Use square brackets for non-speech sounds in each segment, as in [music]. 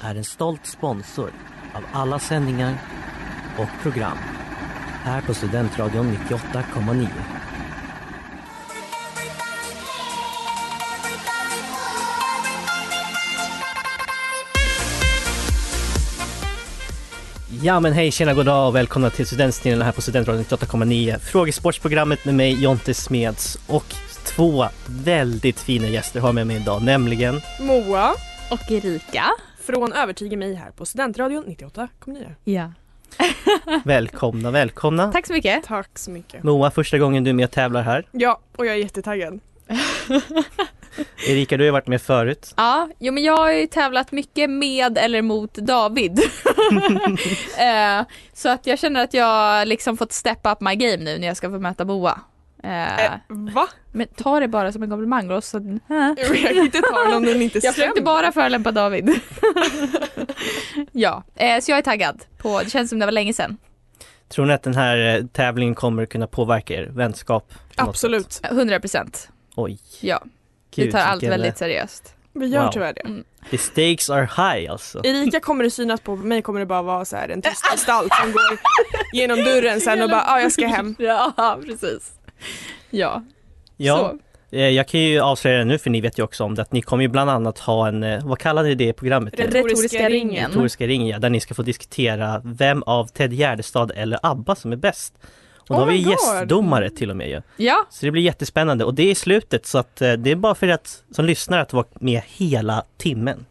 är en stolt sponsor av alla sändningar och program här på Studentradion 98,9. Ja men hej, tjena, goddag och välkomna till Studentsnillen här på Studentradion 98,9. Frågesportsprogrammet med mig Jonte Smeds och två väldigt fina gäster har jag med mig idag, nämligen Moa Och Erika. från Övertyga mig här på Studentradion 98,9. Ja. välkomna, välkomna. Tack så mycket. Tack så mycket. Moa, första gången du är med och tävlar här. Ja, och jag är jättetaggad. Erika, du har ju varit med förut. Ja, jo, men jag har ju tävlat mycket med eller mot David. eh, så att jag känner att jag liksom fått steppa up my game nu när jag ska få möta Boa. Eh, Eh, va? Men ta det bara som en komplimang då. Så, [laughs] Jag kan inte ta den om den inte jag försökte stämmer. bara förolämpa David. [laughs] ja, eh, så jag är taggad. På, det känns som det var länge sedan. Tror ni att den här eh, tävlingen kommer kunna påverka er vänskap? på något sätt? Absolut. 100 procent. Oj. Ja, Gud, vi tar allt vilken, eh, väldigt seriöst. Vi gör Wow. tyvärr det. The stakes are high alltså. Erika kommer det synas på, på mig kommer det bara vara så här en tyst gestalt som [laughs] går genom dörren sen och bara ja, ah, jag ska hem. [laughs] Ja, precis. Ja, Ja, så. eh, jag kan ju avslöja det nu för ni vet ju också om det att ni kommer ju bland annat ha en, eh, vad kallar ni det i programmet? Retoriska Retoriska ringen. ringen. Retoriska ring, ja, där ni ska få diskutera vem av Ted Gärdestad eller ABBA som är bäst. Och då Oh har vi my God. gästdomare till och med ju. Ja, Så det blir jättespännande och det är i slutet så att eh, det är bara för att som lyssnar att vara med hela timmen.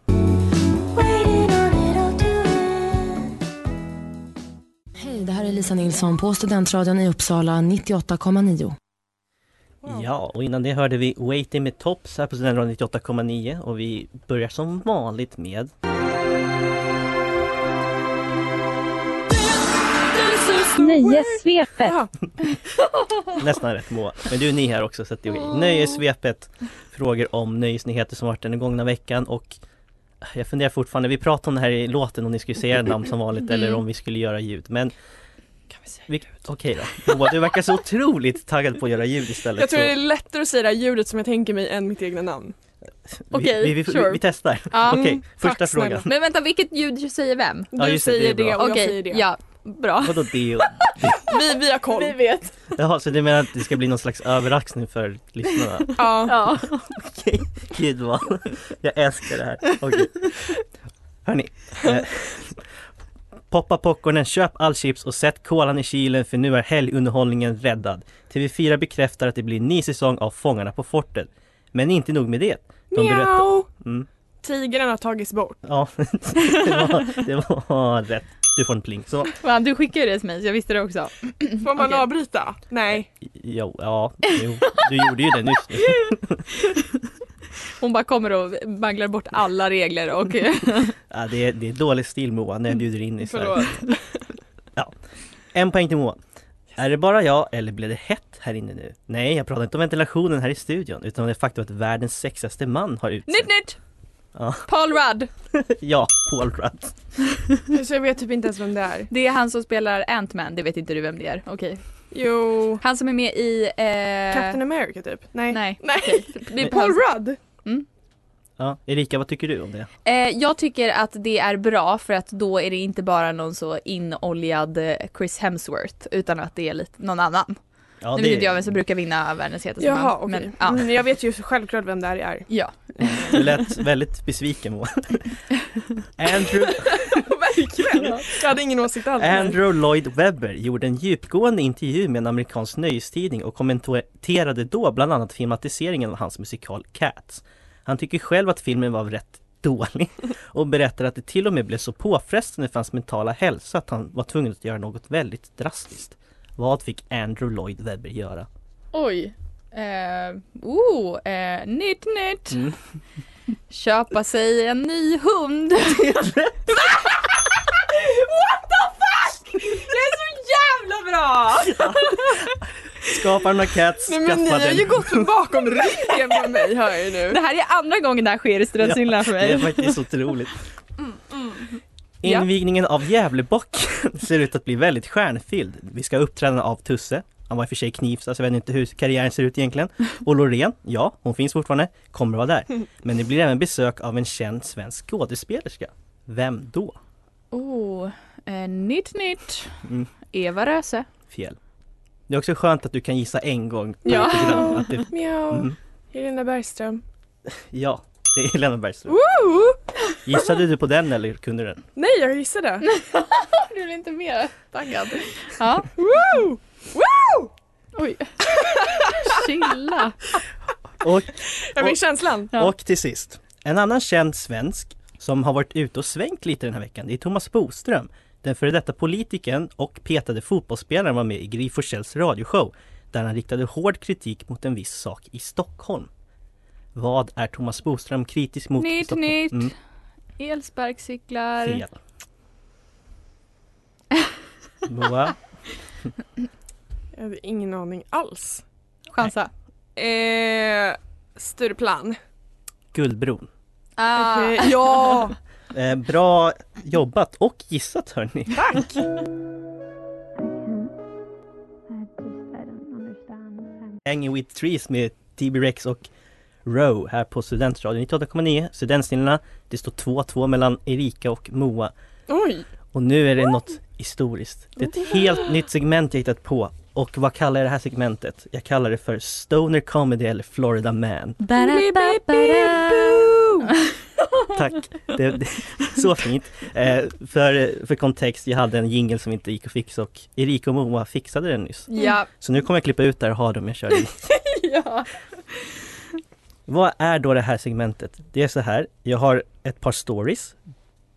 Hej, det här är Lisa Nilsson på Studentradion i Uppsala 98,9. Ja, och innan det hörde vi Waiting med Tops här på Studentradion 98,9 och vi börjar som vanligt med Nöjessvepet. Jaha. nästan rätt Moa. Men du är ny här också så att det är okej. Nöjessvepet, frågor om nöjesnyheter som varit den gångna veckan och äh, jag funderar fortfarande, vi pratade om det här i låten om ni skulle säga namn som Mm. vanligt eller om vi skulle göra ljud men Kan vi säga vi- okej då. Moa, du verkar så otroligt taggad på att göra ljud istället. Jag tror så det är lättare att säga det här ljudet som jag tänker mig än mitt egna namn. okej, vi, vi, vi, sure. vi testar. Ja. Okej, första Mm, tack snälla. frågan. Men vänta, vilket ljud säger vem? Du Ja, just det, det är säger det, bra. och jag Okej, säger det. ja, bra. Vadå det? och- Vi, vi har koll. vet. Jaha, så du menar att det ska bli någon slags överraskning för lyssnarna? Ja. Ja. Okej, gud vad, [laughs] jag älskar det här. Okej. Hörni. Eh, poppa popcornen, köp all chips och sätt kolan i kylen för nu är helgunderhållningen räddad. TV4 bekräftar att det blir en ny säsong av Fångarna på fortet. Men inte nog med det. De berättar... Miau! Mm. Tigern har tagits bort. Ja, [laughs] det var, det var rätt. Du får en pling. Så, Fan, du skickade ju det till mig så jag visste det också. Får man Okej. avbryta? Nej. jo, ja, jo, du gjorde ju det nyss. Hon bara kommer och manglar bort alla regler och Ja, det, är, det är dålig stil Moa, när jag bjuder in i så här. Förlåt. En poäng till Moa. Är det bara jag eller blev det hett här inne nu? Nej, jag pratar inte om ventilationen här i studion utan om det faktum att världens sexigaste man har nytt utsetts. nytt! Ja. Paul Rudd, [laughs] Ja, Paul Rudd. [laughs] Så jag vet typ inte ens vem det är. det är han som spelar Ant-Man, det vet inte du vem det är. Okej. Jo. Han som är med i... Eh... Captain America typ? Nej. Alltså, Nej. Nej. okej. Det är Paul Paul Rudd? Ja, Erika, vad tycker du om det? Eh, jag tycker att det är bra för att då är det inte bara någon så inoljad eh, Chris Hemsworth utan att det är lite någon annan. Ja, nu vet inte jag vem som brukar vinna världens hetaste Jaha man. okej. men, ja. mm, jag vet ju självklart vem det här är. ja. [laughs] Du lät väldigt besviken Moa. Andrew, Verkligen! Jag hade ingen åsikt alls. Andrew Lloyd Webber gjorde en djupgående intervju med en amerikansk nöjestidning och kommenterade då bland annat filmatiseringen av hans musikal Cats. Han tycker själv att filmen var rätt [laughs] dålig och berättar att det till och med blev så påfrestande för hans mentala hälsa att han var tvungen att göra något väldigt drastiskt. Vad fick Andrew Lloyd Webber göra? Oj. Eh, oh, eh, nytt nytt. Mm. [laughs] Köpa sig en ny [laughs] hund. What the fuck! Det är så jävla bra! Skaparen av Cats Nej men ni har skaffade ju en... gått bakom ryggen på mig hör jag nu. Det här är andra gången det här sker i Strömshylla för Det är mig. faktiskt otroligt. Mm, Ja. Invigningen av Gävlebocken [laughs] ser ut att bli väldigt stjärnfylld. Vi ska ha uppträdande av Tusse. Han var i och för sig knivsad så jag vet inte hur karriären ser [laughs] ut egentligen. Och Loreen, ja hon finns fortfarande, kommer vara där. Men det blir även besök av en känd svensk skådespelerska. Vem då? Oh, eh, nytt nytt. Mm. Eva Röse. Fjäll. Det är också skönt att du kan gissa en gång. per Ja. program, [laughs] Att det, Mjau. Mm. Helena Bergström. ja, det är Helena Bergström. Gissade du på den eller [laughs] kunde du den? Nej jag gissade. Du är inte mer taggad? Ja. Woo! Woo! Oj. [laughs] Chilla. Och Jag fick känslan. Ja. Och till sist, en annan känd svensk som har varit ute och svängt lite den här veckan, det är Thomas Boström. Den före detta politikern och petade fotbollsspelaren var med i Gry Forssells radioshow där han riktade hård kritik mot en viss sak i Stockholm. Vad är Thomas Boström kritisk mot? i Nytt Stockholm? nytt. Mm, Elsparkcyklar. fel. Moa, Jag hade ingen aning alls. Chansa. Eh, Stureplan. Guldbron. Ah. Okej, Ja! Eh, bra jobbat och gissat hörni. Tack! Hanging with Trees med TB Rex och Row här på Studentradion 98,9 Studentsnillena Det står 2-2 mellan Erika och Moa [laughs] Oj! Och nu är det något historiskt Det är ett helt nytt segment jag hittat på Och vad kallar jag det här segmentet? Jag kallar det för Stoner Comedy eller Florida Man Tack! Det, det, så fint! Eh, för, för kontext, jag hade en jingle som inte gick att fixa och Erika och Moa fixade den nyss Mm. Ja. Så nu kommer jag klippa ut det här och ha dem jag körde i. [laughs] ja. Vad är då det här segmentet? Det är så här, jag har ett par stories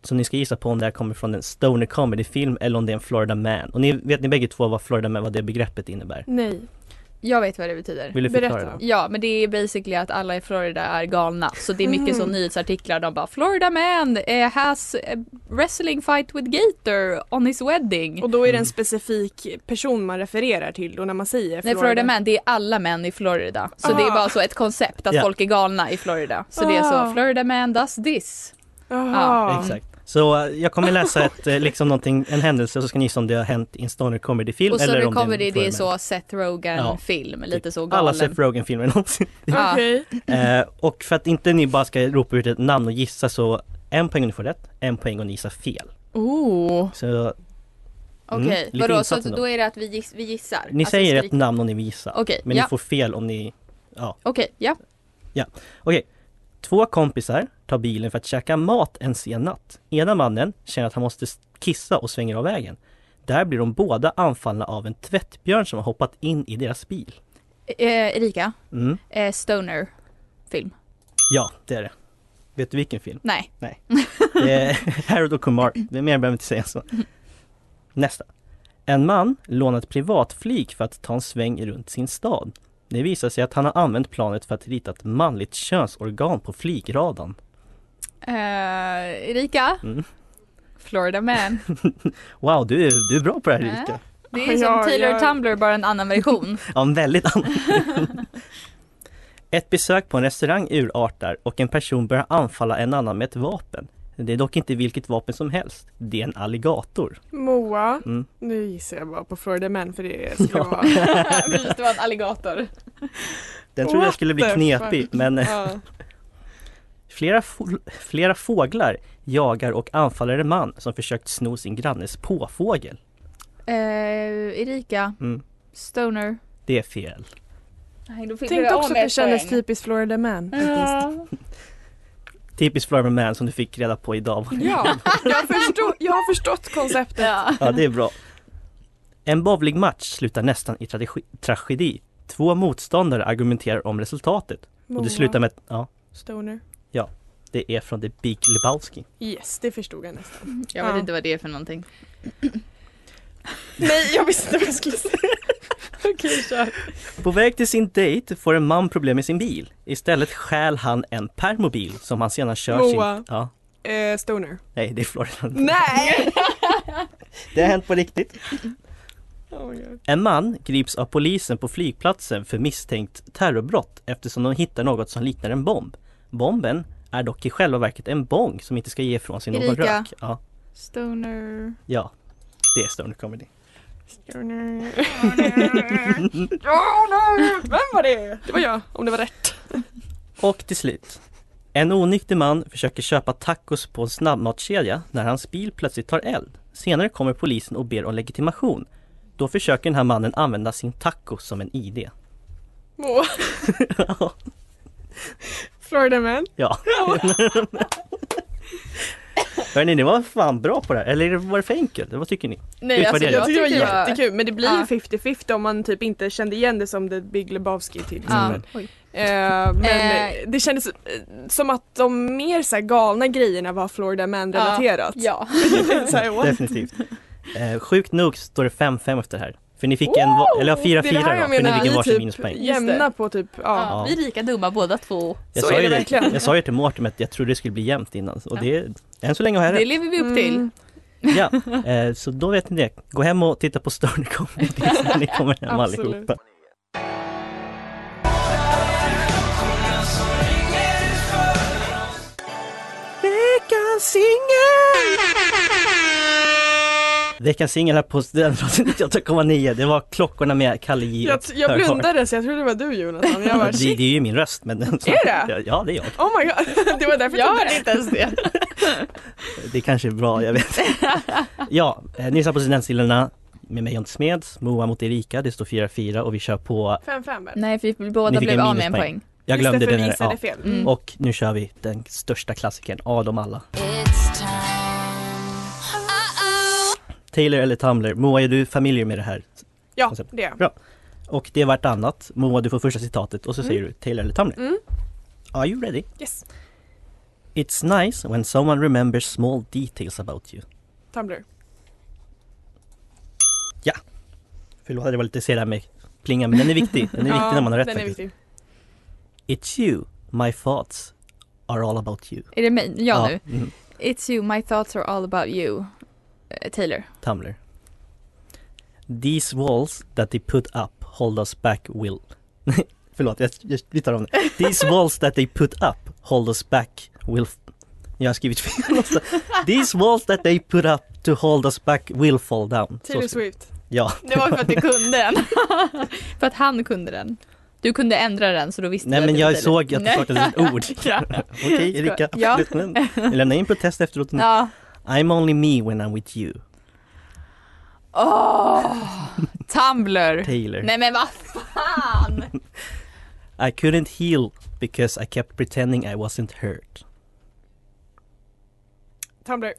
som ni ska gissa på om det här kommer från en stoner comedy film eller om det är en Florida man. Och ni vet ni bägge två vad Florida man, vad det begreppet innebär? Nej. Jag vet vad det betyder. Vill du förklara? Berätta. det? Ja men det är basically att alla i Florida är galna. Så det är Mm. mycket så nyhetsartiklar. De bara Florida man eh, has a wrestling fight with Gator on his wedding. Och då är det Mm. en specifik person man refererar till då när man säger Nej Florida man det är alla män i Florida. Så Ah. det är bara så ett koncept att Ja. folk är galna i Florida. Så det är så Ah. Florida man does this. Jaha. Exakt. Så eh, jag kommer läsa ett, eh, liksom någonting, en händelse och så ska ni gissa om det har hänt i en stoner comedy film Och så eller nu om kommer en det, det är Florida så man. Seth Rogen Ja. Typ film. Lite så Alla galen. Seth Rogen filmer [laughs] någonsin. Ja. Okej. Eh, och för att inte ni bara ska ropa ut ett namn och gissa så en poäng om ni får rätt, en poäng om ni gissar fel. Oh. Så Mm, Okej, lite vadå så insatt att, ändå. då är det att vi, giss, vi gissar? ni Alltså, säger ett skrik- namn om ni vill gissa. Okej, Men ja. ni får fel om ni Okej, ja. Två kompisar tar bilen för att käka mat en sen natt. Ena mannen känner att han måste kissa och svänger av vägen. Där blir de båda anfallna av en tvättbjörn som har hoppat in i deras bil. Eh, Erika, Mm. eh, Stoner film. Ja, det är det. Vet du [laughs] vilken film? Nej. Det är Harold och Kumar. Det är mer behöver jag inte säga så. Nästa. En man lånar ett privatflyg för att ta en sväng runt sin stad. Det visar sig att han har använt planet för att rita ett manligt könsorgan på flygradan. Eh, Erika, Mm. Florida man. Wow, du är, du är bra på det här Äh. Erika. Det är Ja, som Taylor jag- Tumbler bara en annan [laughs] version. [laughs] Ja, en väldigt annan. ett besök på en restaurang urartar och en person börjar anfalla en annan med ett vapen. Det är dock inte vilket vapen som helst. Det är en alligator. Moa. Mm. Nu gissar jag bara på Florida man för det skulle Ja. [laughs] vara... Precis, det var en alligator. Den trodde jag What skulle bli the knepig, fuck? men eh, Ja. flera, fo- flera fåglar jagar och anfaller en man som försökt sno sin grannes påfågel. Eh, Erika, Mm. Stoner. Det är fel. Nej, då fick typ- Tänkte också att det kändes typiskt Florida man. Ja. Typiskt Florida Man som du fick reda på idag. Ja, jag, förstod, jag har förstått [laughs] konceptet. Ja. Ja, det är bra. En bowlingmatch slutar nästan i trage- tragedi. Två motståndare argumenterar om resultatet. Och det slutar med att, ja, Stoner. det är från The Big Lebowski. Yes, det förstod jag [laughs] nästan. Jag vet inte vad det är för någonting. Nej, jag visste inte vad jag skulle säga. [laughs] Okej, kör. På väg till sin dejt får en man problem med sin bil. Istället stjäl han en permobil som han sedan kör Moa. sin... Ja, Eh, stoner. nej, det är Florida. Nej! [laughs] Det har hänt på riktigt. [laughs] Oh my God. En man grips av polisen på flygplatsen för misstänkt terrorbrott eftersom de hittar något som liknar en bomb. Bomben är dock i själva verket en bong som inte ska ge ifrån sig någon Erika. rök. Ja, Stoner. ja, det är Stoner Comedy. Stoner. Stoner! Vem var det? Det var jag, om det var rätt. Och till slut. En onykter man försöker köpa tacos på en snabbmatskedja när hans bil plötsligt tar eld. Senare kommer polisen och ber om legitimation. Då försöker den här mannen använda sin taco som en ID. [laughs] Moa. Florida man. Ja. Hörni, ni var fan bra på det här. Eller var det för enkelt? Vad tycker ni? Nej alltså Utvärdering. jag Jag tyckte tycker det var jättekul men det blir Ja. ju 50-50 om man typ inte kände igen det som The Big Lebowski till exempel. Ja. Mm. Oj. Eh, men Eh. det kändes eh, som att de mer så här galna grejerna var Florida Man Ja. relaterat. Ja. så här, what? Definitivt. Eh, sjukt nog står det 5-5 efter det här. För ni fick en, va- eller Det är det här 4-4 då, jag för ni menar, fick en vi varsin typ minuspoäng. jämna på typ, ja. Ja. Vi är lika dumma båda två. Jag så sa, är det ju det, verkligen. jag sa ju till Mårten att jag trodde det skulle bli jämnt innan. Och det, än så länge har jag Det rätt. lever vi upp till. Mm. Ja, eh, så då vet ni det. Gå hem och titta på Störne Comedy när ni kommer hem Absolut. allihopa. Veckans singel! Veckans singel här på Studentradion 98,9. Det var klockorna med Kalle J. Jag, och jag Höghaar. blundade så jag trodde det var du Jonathan. Jag bara, det, shit, det är ju min röst men... Är det? Ja det är jag. oh my god. [laughs] Det var därför jag trodde inte ens det. Det kanske är bra, [laughs] jag vet Ja, eh, ni lyssnar på Studentsillarna med mig Jonte Smeds, Moa mot Erika, det står 4-4 och vi kör på 5-5 väl? Nej för vi Ni båda fick blev av en med en minuspoäng. poäng. Jag Just det, glömde för den vi här. gissade Ja. fel. Mm. Och nu kör vi den största klassikern av dem alla. Taylor eller Tumblr, Moa är du familjer med det här? Ja, Koncept. det. Och det är vartannat. Moa du får första citatet och så säger du Taylor eller Tumblr. Mm. Are you ready? Yes. It's nice when someone remembers small details about you. Tumblr. Förlåt att jag var lite sen där med plinga men den är viktig. Den är viktig när man har rätt den är faktiskt. viktig. It's you, my thoughts are all about you. Är det mig? Jag nu? Mm, It's you, my thoughts are all about you. Eh, Taylor. Tumblr. These walls that they put up hold us back will... [laughs] Nej, Förlåt, jag, jag, vi tar om det. These walls that they put up hold us back will... Jag har skrivit fel [laughs] också. These walls that they put up to hold us back will fall down. Så Taylor ska- Swift. Ja. Det var för att du kunde den. [laughs] för att han kunde den. Du kunde ändra den så då visste Nej du men det var jag Taylor. såg att det Nej. saknades [laughs] ett ord. Ja. Okej Erika, Ja. absolut. Men jag lämnar in protest efteråt. Ja. I'm only me when I'm with you. Åh! Tumblr. Taylor. Nej men vad [laughs] fan! I couldn't heal because I kept pretending I wasn't hurt. Tumblr.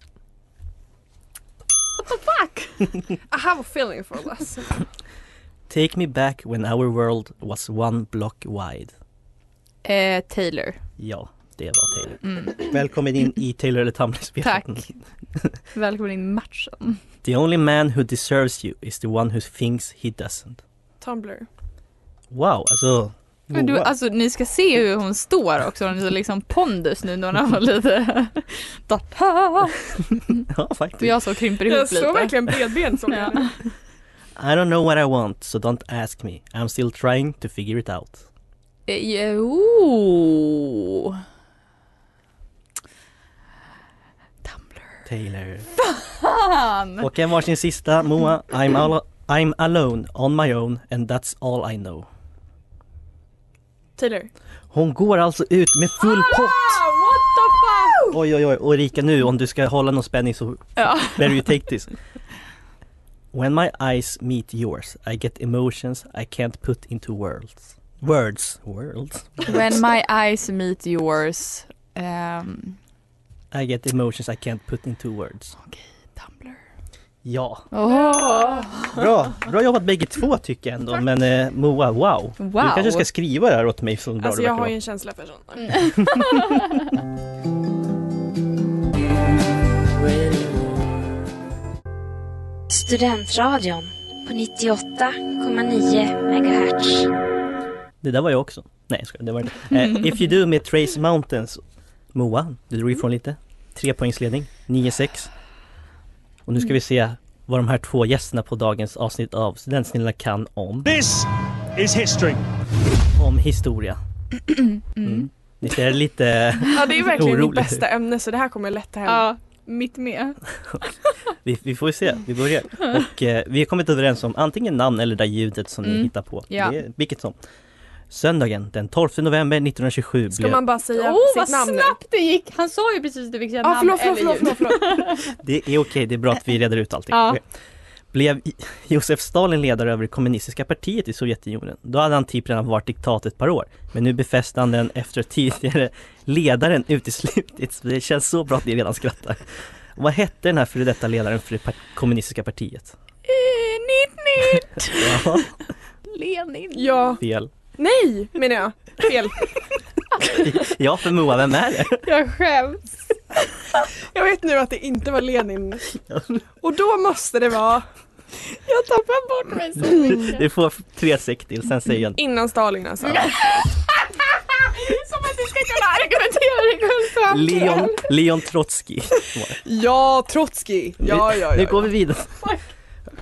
What the fuck? [laughs] I have a feeling for this. Take me back when our world was one block wide. Eh, Taylor. Ja, det var Taylor. Mm. [clears throat] Välkommen in i Taylor eller Tumblr-spelet. Tack. Välkommen in i matchen. The only man who deserves you is the one who thinks he doesn't. Tumblr. Wow, alltså. Men du, Moa. alltså ni ska se hur hon står också, hon är så liksom pondus nu när hon har lite... [laughs] Data. [laughs] ja, Och faktiskt. jag så krymper ihop Jag lite. står verkligen bredbent [laughs] såg Ja. jag nu. I don't know what I want, so don't ask me. I'm still trying to figure it out. Eh, Jo. Tumblr. Taylor. Fan! Och en varsin sista, Moa. I'm, al- I'm alone, on my own, and that's all I know. Taylor. Hon går alltså ut med full pott! what the fuck! Oj oj oj, och Erika nu om du ska hålla någon spänning så Ja. better you take this. When my eyes meet yours I get emotions I can't put into words. Words. Words. When my eyes meet yours ehm, I get emotions I can't put into words. Tumblr. Ja, Åh, bra. Bra jobbat bägge två tycker jag ändå. Men eh, Moa, wow. wow. Du kanske ska skriva det här åt mig som bra Alltså du jag verkar har ju vara. en känsla för sånt. Mm. Studentradion på 98,9 MHz. Det där var jag också. Nej, jag skojar, det var det inte. Eh, If You Do med Trace Mountains. Moa, du drog ifrån lite. Tre poängsledning, 9-6. Och nu ska vi se vad de här två gästerna på dagens avsnitt av Studentsnillena kan om. This is history. Om historia. Mm. Ni ser lite, [laughs] Ja det är verkligen mitt Orolig. bästa ämne så det här kommer lätta hem. Ja, mitt med. vi, vi får ju se, vi börjar. Och eh, vi har kommit överens om antingen namn eller det där ljudet som ni Mm. hittar på. Ja. Det är, vilket som. Söndagen den 12 november 1927 Ska man bara säga Åh, vad sitt namn nu? snabbt det gick! Han sa ju precis det fick säga Ja Ah, namn förlåt förlåt eller förlåt, ljud. förlåt, förlåt. Det är okej, det är bra att vi reder ut allting. Ja. Okej. Blev I- Josef Stalin ledare över det kommunistiska partiet i Sovjetunionen, då hade han typ redan varit diktat ett par år. Men nu befäste han den efter att tidigare ledaren uteslutits. Det känns så bra att ni redan skrattar. Vad hette den här före detta ledaren för det par- kommunistiska partiet? Eh, [laughs] Nitt, nitt! Ja, Lenin. Ja, fel. nej menar jag. Fel. Ja, för Moa, vem är det? Jag skäms. Jag vet nu att det inte var Lenin. Och då måste det vara Jag tappar bort mig så mycket. Du får tre sek till, sen säger jag innan Stalin alltså. Som att du ska kunna argumentera dig själv fram till Leon, en. Leon Trotsky. Ja, Trotskij. Ja, ja, Nu går ja. vi vidare.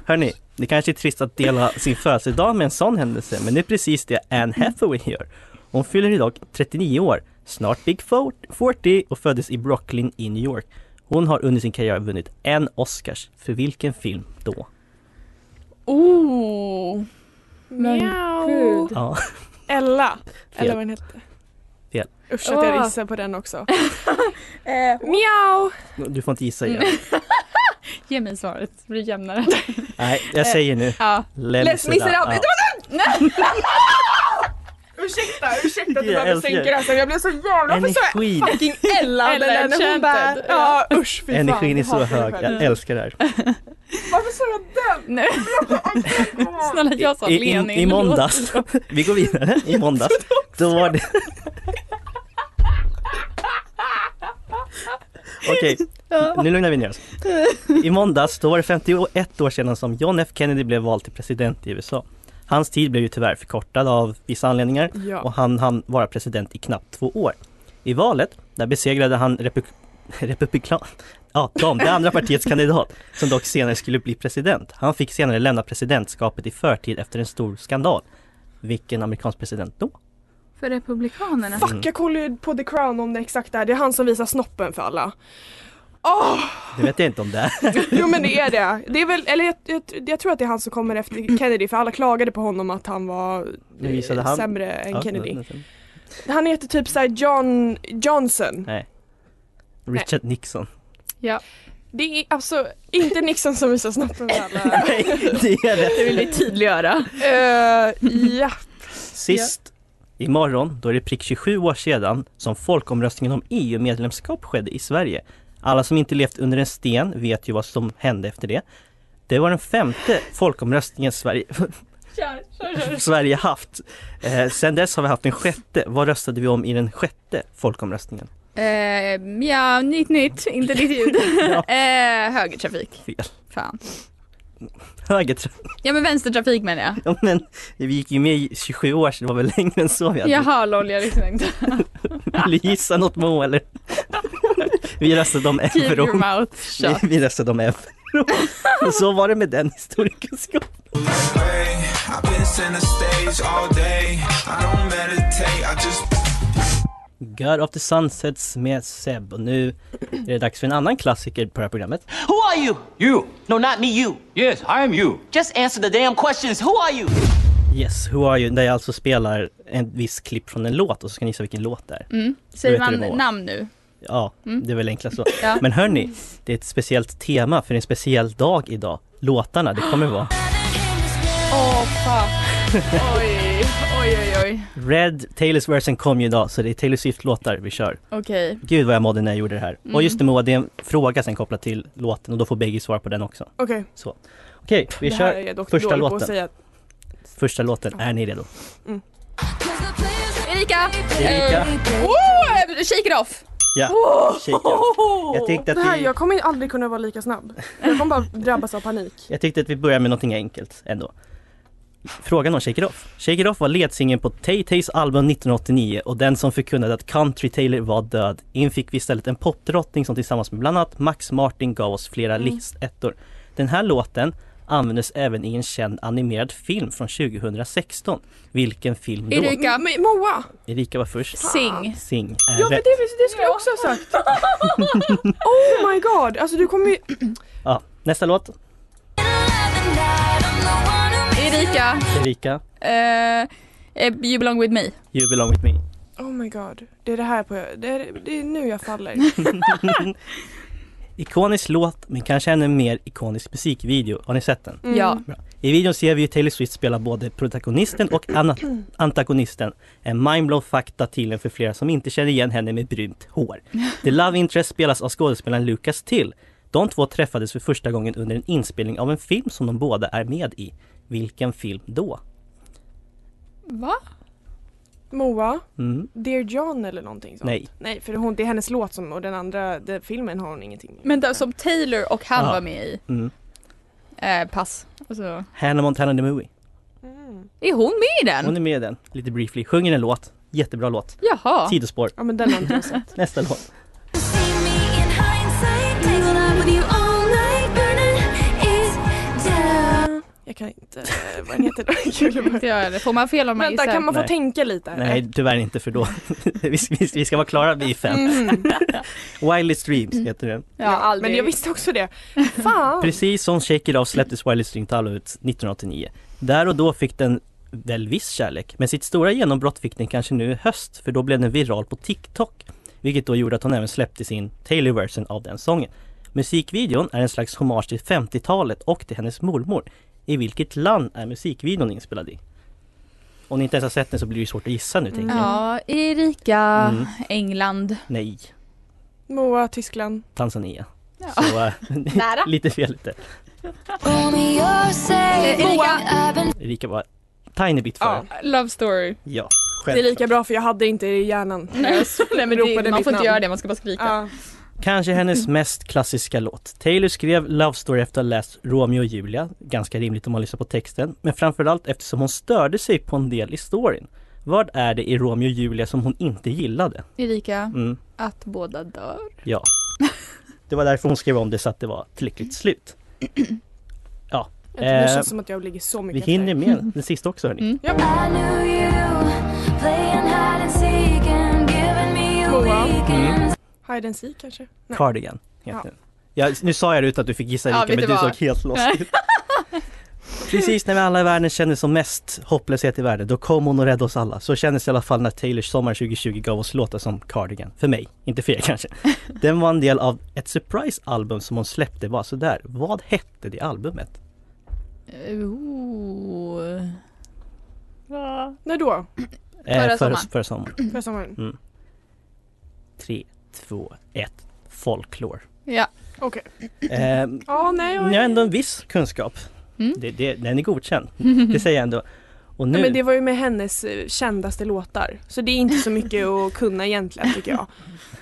Hörni, det kanske är trist att dela sin födelsedag med en sån händelse, men det är precis det Anne Hathaway gör. Hon fyller idag 39 år, snart Big 40 och föddes i Brooklyn i New York. Hon har under sin karriär vunnit en Oscars. För vilken film då? Oh. Mjau. Ja, Ella. Fel. Eller vad den hette. Fel. Usch att jag Åh. gissar på den också. eh. Mjau. du får inte gissa igen. Mm. Ge mig svaret, det blir jämnare. [laughs] Nej, jag säger nu. Ja. Les Les Misérables. Ja. Ursäkta, ursäkta att du Jag behöver älskar sänka det. rösten. Jag blev så jävla försörjd. Energin, Fucking Ella. Ella den där när hon bara, Enchanted. ja usch fy fan. energin är jag så hatar mig hög. själv. Jag älskar det här. Varför sa jag den? Nej. Snälla jag sa I, Lenin. i, [laughs] i måndags, [laughs] vi går vidare, i måndags, då var det... Okej, nu lugnar vi ner oss. I måndags, då var det 51 år sedan som John F Kennedy blev vald till president i USA. Hans tid blev ju tyvärr förkortad av vissa anledningar och Ja. han hann vara president i knappt två år. I valet, där besegrade han republik... [laughs] republikan... Ja, de, det [laughs] andra partiets kandidat, som dock senare skulle bli president. Han fick senare lämna presidentskapet i förtid efter en stor skandal. Vilken amerikansk president då? För Republikanerna. Fuck jag kollade ju på The Crown om det exakt där. Det är han som visar snoppen för alla. Åh! Det vet jag inte om det är. Jo men det är det. Det är väl, eller jag, jag, jag tror att det är han som kommer efter Kennedy för alla klagade på honom att han var Nu eh, gissade han. sämre än Ja, Kennedy. nästan. Han heter typ såhär John Johnson. Nej. [laughs] Richard Nixon. Det är alltså inte Nixon som visar snoppen för alla. [laughs] Nej, det är det. Det vill vi tydliggöra. Eh, ja. Sist imorgon, då är det prick 27 år sedan som folkomröstningen om EU-medlemskap skedde i Sverige. Alla som inte levt under en sten vet ju vad som hände efter det. Det var den femte folkomröstningen Sverige, [laughs] Kör, kör, kör. Sverige haft. Eh, sen dess har vi haft en sjätte. Vad röstade vi om i den sjätte folkomröstningen? Eh, ja, nytt nytt, inte ditt [laughs] ljud. Ja. eh, högertrafik. Fel. [laughs] Fan. Högertrafik. Ja men vänstertrafik menar jag. Ja, [laughs] men vi gick ju med i 27 år sedan, det var väl längre än så vi hade. Jaha lol, jag lyssnade inte. [laughs] Vill du gissa något Moa eller? [laughs] vi röstade om Keep your euron. mouth shut. Vi, vi röstade om euron. [laughs] Och så var det med den historiekunskapen. I've been center stage all day. I don't meditate, I just God of the Sunsets med Seb och nu är det dags för en annan klassiker på det här programmet. Who are you? You. No, not me, you. Yes, I am you. Just answer the damn questions. Who are you? Yes, Who Are You? Där jag alltså spelar en viss klipp från en låt och så ska ni gissa vilken låt det är. Mm. Säger Då heter man det Moa. namn nu? Ja, det är väl enklast så. Ja. Men hörni, det är ett speciellt tema för en speciell dag idag. Låtarna, det kommer vara. [laughs] Åh fan. Oj. Oj, oj, oj, oj. Red, Taylors versen kom ju idag så det är Taylor Swift-låtar vi kör. Okej. Gud vad jag mådde när jag gjorde det här. Mm. Och just det Moa, det är en fråga sen kopplat till låten och då får bägge svara på den också. Okej, Okej, vi det här är kör jag dock första dålig på att låten. säga. första låten. Är ni redo? Erika! Erika. Eh, Oh, shake it off! Ja, kika. Jag tänkte, att Det här, vi, jag kommer aldrig kunna vara lika snabb. Jag kommer bara drabbas av panik. jag tänkte att vi börjar med någonting enkelt ändå. Frågan om Shake It Off. Shake It Off var ledsingeln på Tay-Tays album 1989 och den som förkunnade att Country Taylor var död. In fick vi istället en popdrottning som tillsammans med bland annat Max Martin gav oss flera Mm. listettor. Den här låten användes även i en känd animerad film från 2016. Vilken film då? Erika, Mm, Men Moa! Erika var först. sing. Sing är Ja men rätt. det, det skulle jag också ha [laughs] sagt. Oh my god, alltså du kommer ju... Ja, nästa låt. Ah. Erika, Erika, eh, eh, you belong with me. You belong with me. Oh my god, det är det här på... Det är, det är nu jag faller. Ikonisk låt, men kanske ännu mer ikonisk musikvideo. Har ni sett den? Mm. Ja. I videon ser vi ju Taylor Swift spela både protagonisten och ana- antagonisten. En mindblown fakta till en för flera som inte känner igen henne med brunt hår. The Love Interest spelas av skådespelaren Lucas Till. De två träffades för första gången under en inspelning av en film som de båda är med i. Vilken film då? Va? Moa, Mm. Dear John eller någonting sånt? Nej. Nej, för hon, det är hennes låt som, och den andra den filmen har hon ingenting med. Men där, som Taylor och han Ja. var med i. Mm. Eh, pass. Alltså, Hannah Montana the Movie. Mm. är hon med i den? Hon är med i den, lite briefly. Sjunger en låt. Jättebra låt. Jaha. Sidospår. Ja men den har inte jag sett. Nästa låt. Jag kan inte... eh, Vad den heter [laughs] den? Inte jag heller. Får man fel om man Vänta, gissar? kan man få Nej. tänka lite? eller? Nej, tyvärr inte för då. [laughs] vi, ska- vi, ska- vi ska vara klara vid fem. [laughs] Mm. Wildest Dreams heter den. Ja, aldrig. Men jag visste också det. Fan! Precis som Shake It Off släpptes Wildest Dreams albumet 1989. Där och då fick den väl viss kärlek, men sitt stora genombrott fick den kanske nu i höst, för då blev den viral på TikTok. Vilket då gjorde att hon även släppte sin Taylor-version av den sången. Musikvideon är en slags hommage till 50-talet och till hennes mormor. I vilket land är musikvideon inspelad i? Om ni inte ens har sett den så blir det ju svårt att gissa nu Mm. tänker jag. Ja, Erika, Mm. England. Nej, Moa, Tyskland. Tanzania. Så [laughs] äh, Nära. lite fel lite. Eh, Erika, Erika var tiny bit före. Ja. Ja, Love story. Det är självklart. lika bra för jag hade inte det i hjärnan. [laughs] Nej, men ropade det, man mitt får inte namn. göra det, man ska bara skrika. Ja. Kanske hennes mest klassiska låt. Taylor skrev Love Story efter att ha läst Romeo och Julia, ganska rimligt om man lyssnar på texten, men framförallt eftersom hon störde sig på en del i storyn. Vad är det i Romeo och Julia som hon inte gillade? Erika, Mm, att båda dör. ja. Det var därför hon skrev om det så att det var ett [clears throat] lyckligt slut. Ja, Jag tror Det Eh, känns som att jag ligger så mycket vi hinner efter. med den sista också hörni. Mm. Moa. Mm. Hide and seek kanske? Nej. Cardigan heter den. Ja, nu sa jag det utan att du fick gissa Ja, Erika, vet men du du vad? såg helt lost [laughs] ut. Precis när vi alla i världen kände som mest hopplöshet i världen, då kom hon och räddade oss alla. Så kändes det i alla fall när Taylors Sommar 2020 gav oss låtar som Cardigan. För mig, inte för er [laughs] kanske. Den var en del av ett surprise-album som hon släppte bara sådär. Vad hette det albumet? Eh, Ooh. När då? Förra sommaren. Eh, Förra sommaren. Förra sommaren? Tre, två, ett. Folklore. Ja, [gasps] Okej. Ehm, Ja, nej. Jag... Ni har ändå en viss kunskap. Mm. Det, det, den [laughs] är godkänd. Det säger jag ändå. Och nu, Nej, men det var ju med hennes eh, kändaste låtar. Så det är inte så [laughs] mycket att kunna egentligen tycker [laughs] jag.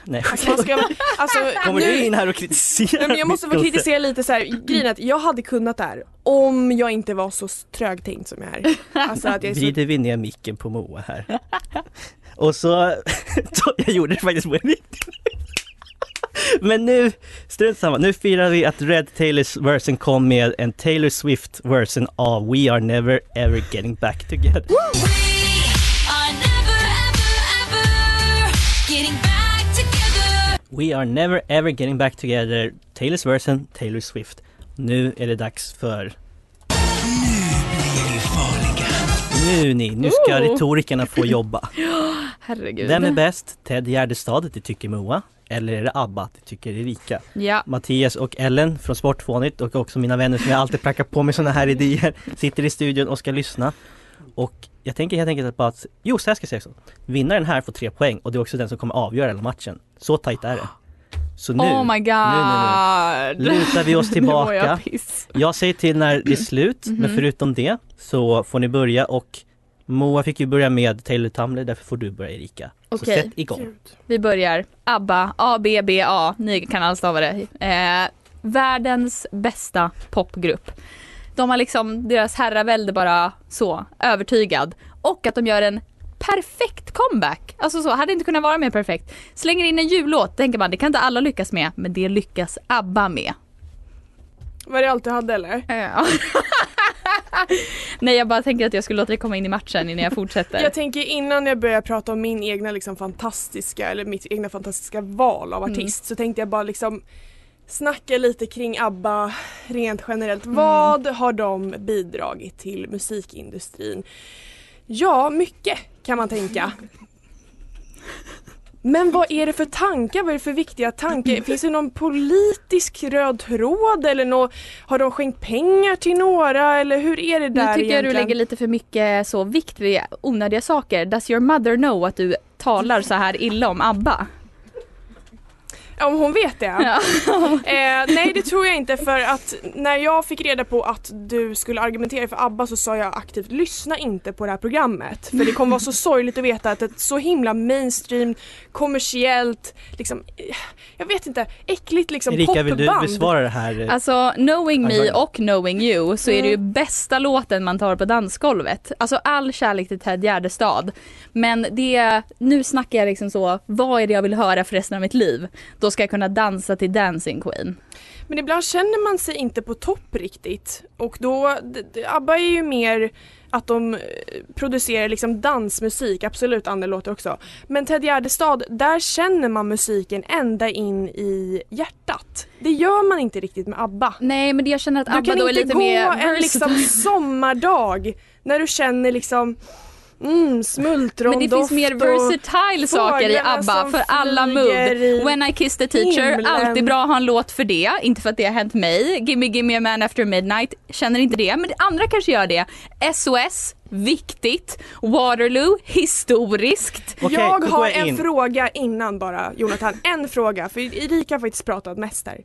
nej. [laughs] Alltså, man ska, alltså, Kommer nu, du in här och kritiserar Nej, men jag måste mitt få koncept? kritisera lite så här. grejen är att jag hade kunnat det här om jag inte var så trögtänkt som jag [laughs] är. Alltså att jag är så... Vrider vi ner micken på Moa här. [laughs] Och så, [laughs] jag gjorde det faktiskt på riktigt. [laughs] Men nu, strunt samma, nu firar vi att Red Taylors version kom med en Taylor Swift version av We are never ever getting back together. We are never ever getting back together, Taylors version, Taylor Swift. Nu är det dags för... Nu ni, nu ska Ooh. retorikerna få jobba. herregud. Vem är bäst? Ted Gärdestad, det tycker Moa. Eller är det Abba, det tycker Erika. Ja, Mattias och Ellen från Sportfånigt och också mina vänner som jag alltid prackar på mig sådana här idéer sitter i studion och ska lyssna. Och jag tänker helt enkelt att bara att, jo så här ska jag säga också. Vinnaren här får tre poäng och det är också den som kommer avgöra hela matchen. Så tajt är det. Så nu, oh my god! nu, nu, nu lutar vi oss [laughs] Nu mår jag Mhm. tillbaka. piss. Jag säger till när det är slut, men förutom det så får ni börja och Moa fick ju börja med Taylor Tamler, därför får du börja Erika. Okej. Så sätt igång. Vi börjar. ABBA, A-B-B-A, ni kan alla stava det. Eh, världens bästa popgrupp. De har liksom, deras herravälde bara så, övertygad. Och att de gör en perfekt comeback. Alltså så, hade inte kunnat vara mer perfekt. Slänger in en jullåt, tänker man det kan inte alla lyckas med, men det lyckas ABBA med. Var det allt du hade eller? Ja. [laughs] Nej jag bara tänker att jag skulle låta det komma in i matchen innan jag fortsätter. Jag tänker innan jag börjar prata om min egna liksom fantastiska, eller mitt egna fantastiska val Mm. av artist så tänkte jag bara liksom snacka lite kring ABBA rent generellt. Mm. Vad har de bidragit till musikindustrin? Ja, mycket kan man [laughs] tänka. Men vad är det för tankar? Vad är det för viktiga Mm. tankar? Finns det någon politisk röd tråd eller nå, har de skänkt pengar till några eller hur är det där Nu tycker jag du egentligen? lägger lite för mycket så vikt vid onödiga saker. Does your mother know att du talar så här illa om ABBA? Ja, Om hon vet det? Ja. [laughs] Eh, nej det tror jag inte för att när jag fick reda på att du skulle argumentera för ABBA så sa jag aktivt lyssna inte på det här programmet. För det kommer vara så sorgligt att veta att ett så himla mainstream, kommersiellt, liksom, eh, jag vet inte, äckligt liksom Erika, vill du popband. besvara det här? eh, Alltså knowing me Antagligen. och knowing you så är det ju bästa låten man tar på dansgolvet. Alltså all kärlek till Ted Gärdestad. Men det, nu snackar jag liksom så, vad är det jag vill höra för resten av mitt liv? Då ska jag kunna dansa till Dancing Queen. Men ibland känner man sig inte på topp riktigt och då, d- d- ABBA är ju mer att de eh, producerar liksom dansmusik, absolut andra låtar också. Men Ted Gärdestad, där känner man musiken ända in i hjärtat. Det gör man inte riktigt med ABBA. Nej men det jag känner att Du Mm, ABBA kan då är inte lite gå mer en [laughs] liksom sommardag när du känner liksom mm, smultrondoft Men det finns mer och- versatile saker i fåglarna ABBA som för alla flyger i mood. When I kiss the teacher, himlen. alltid bra att ha en låt för det. Inte för att det har hänt mig. Gimme gimme a man after midnight, känner inte det. Men andra kanske gör det. SOS, viktigt. Waterloo, historiskt. Okej, jag då går har jag en in. fråga innan bara Jonathan, en fråga för Erika har faktiskt pratat mest här.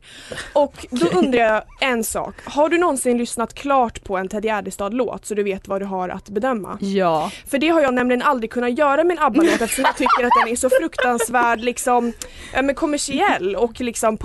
Och då undrar jag en sak, har du någonsin lyssnat klart på en Ted Gärdestad-låt så du vet vad du har att bedöma? Ja. För det har jag nämligen aldrig kunnat göra med en [laughs] ABBA-låt eftersom jag tycker att den är så fruktansvärd liksom, ja, men kommersiell och liksom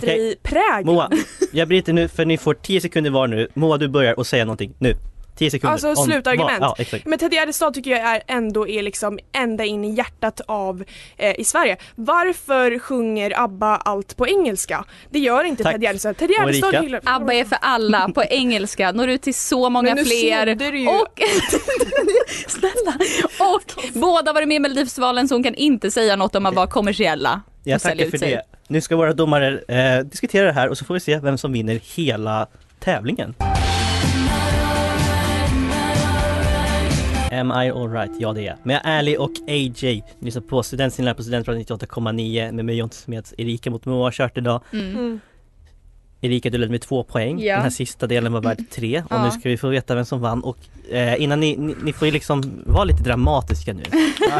popindustri-präg. Moa, jag bryter nu för ni får 10 sekunder var nu. Moa du börjar och säger någonting nu. 10 sekunder. Alltså, Om vad- slutargument. Ja, exakt. Men Ted Gärdestad tycker jag är ändå är liksom ända in i hjärtat av eh, i Sverige. Varför sjunger ABBA allt på engelska? Det gör inte Tack. Ted Gärdestad. Ted Och Gärdestad Erika? hyllar... ABBA är för alla [laughs] på engelska, når ut till så många Men nu fler. snodde du ju. Och, [laughs] snälla! Och båda var med i Melodifestivalen så hon kan inte säga något om att vara kommersiella. Jag och sälja tackar ut för sig. det. Nu ska våra domare eh, diskutera det här och så får vi se vem som vinner hela tävlingen. Am I alright? Ja det är jag. Men jag är ärlig och AJ. Ni lyssnar på Studentsnillan på Studentradion 98,9 med mig Jonte Smeds. Erika mot Moa har kört idag. Mm. Erika du ledde med två poäng. Ja. Den här sista delen var värd tre. Och Ja. nu ska vi få veta vem som vann. Och eh, innan ni, ni, ni får ju liksom vara lite [laughs] dramatiska nu.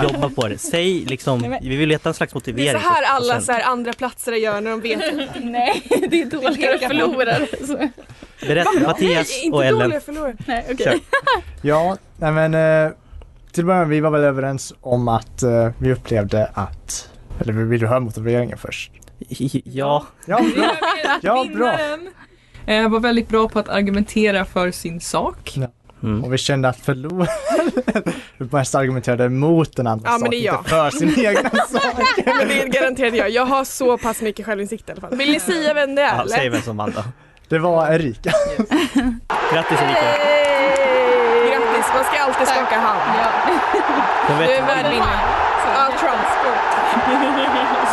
Jobba på det. Säg liksom, vi liksom vill veta en slags motivering. Det är så här först, och alla sen- så här andra platser gör när de vet. Nej, det är dåliga förlorare. Så. Berätta Mattias Nej, inte och Ellen. dåliga förlorare. Nej, okej. Kör. [laughs] Ja, nej men eh, till att börja med, vi var väl överens om att eh, vi upplevde att, eller vill du höra motiveringen först? Ja, Ja, bra. Ja, bra. Eh, var väldigt bra på att argumentera för sin sak. mm. Och vi kände att förloraren [laughs] mest argumenterade mot den andra Ja, men saken, det är jag. inte för [laughs] sin egna sak. Men det är garanterat jag. Jag har så pass mycket självinsikt i alla fall. Vill ni säga vem det är ja säg eller? vem som vann då. Det var Erika. Grattis Erika, Grattis, man ska alltid skaka hand. hon Du är vet värd vinnare. Ja, Trump.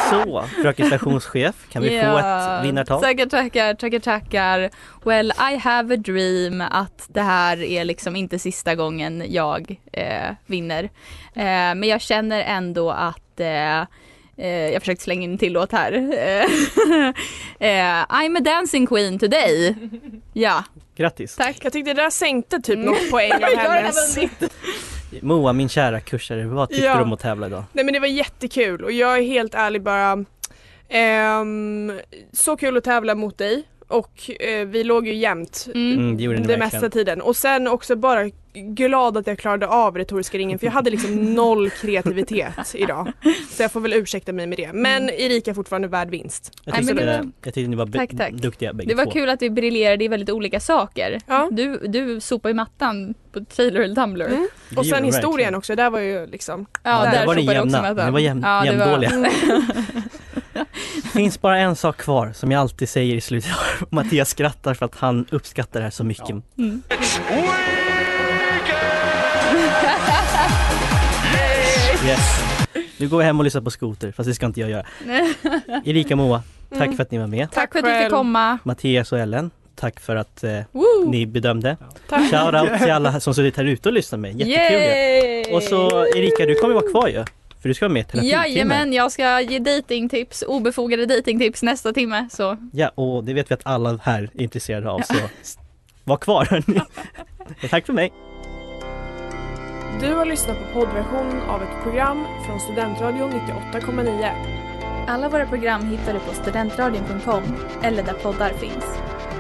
Så, fröken stationschef, kan vi få ett vinnartal? Tackar, tackar, tackar, tackar. Well, I have a dream att det här är liksom inte sista gången jag eh, vinner. Eh, men jag känner ändå att eh, eh, jag försökte slänga in en till låt här. [laughs] Eh, eh, I'm a dancing queen today. Ja, Grattis! tack. Jag tyckte det där sänkte typ något [laughs] poäng av Jag har redan hennes. Moa, min kära kursare, vad tyckte Ja. du om att tävla idag? Nej men det var jättekul och jag är helt ärlig bara ehm, så kul att tävla mot dig och eh, vi låg ju jämnt Mm. Mm, det gjorde ni det verkligen. mesta tiden och sen också bara glad att jag klarade av retoriska ringen för jag hade [laughs] liksom noll kreativitet idag. Så jag får väl ursäkta mig med det. Men Mm. Erika är fortfarande värd vinst. Jag Nej, tyckte, men det var- jag tyckte ni var be- Tack, tack. duktiga bägge Det var två. kul att vi briljerade i väldigt olika saker. Ja. Du, du sopar i mattan på Taylor eller Tumblr. Mm. Det Och gjorde sen ni historien verkligen. också, där var ju liksom Ja, där var ni sopar jag också i jämna. mattan. Ni var jäm- Ja, det var- Mm. jämndåliga. finns bara en sak kvar som jag alltid säger i slutet. [laughs] Mattias skrattar för att han uppskattar det här så mycket. Mm. Yes. Nu går jag hem och lyssnar på skoter, fast det ska inte [laughs] jag göra. Erika och Moa, tack Mm. för att ni var med. Tack för att du själv. fick komma. Mattias och Ellen, tack för att eh, Woo! ni bedömde. Tack. Shoutout till alla som suttit här ute och lyssnat med. Jättekul ju. Yay! Och så Erika, du kommer vara kvar ju. För du ska vara med i terapitimmen. Jajamän, jag ska ge datingtips, obefogade datingtips nästa timme. Så Ja, och det vet vi att alla här är intresserade av, så s- var kvar hörni. Tack för mig. Du har lyssnat på poddversion av ett program från Studentradion 98,9. alla våra program hittar du på studentradion.com eller där poddar finns.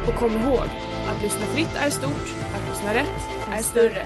Och kom ihåg, att lyssna fritt är stort, att lyssna rätt är större.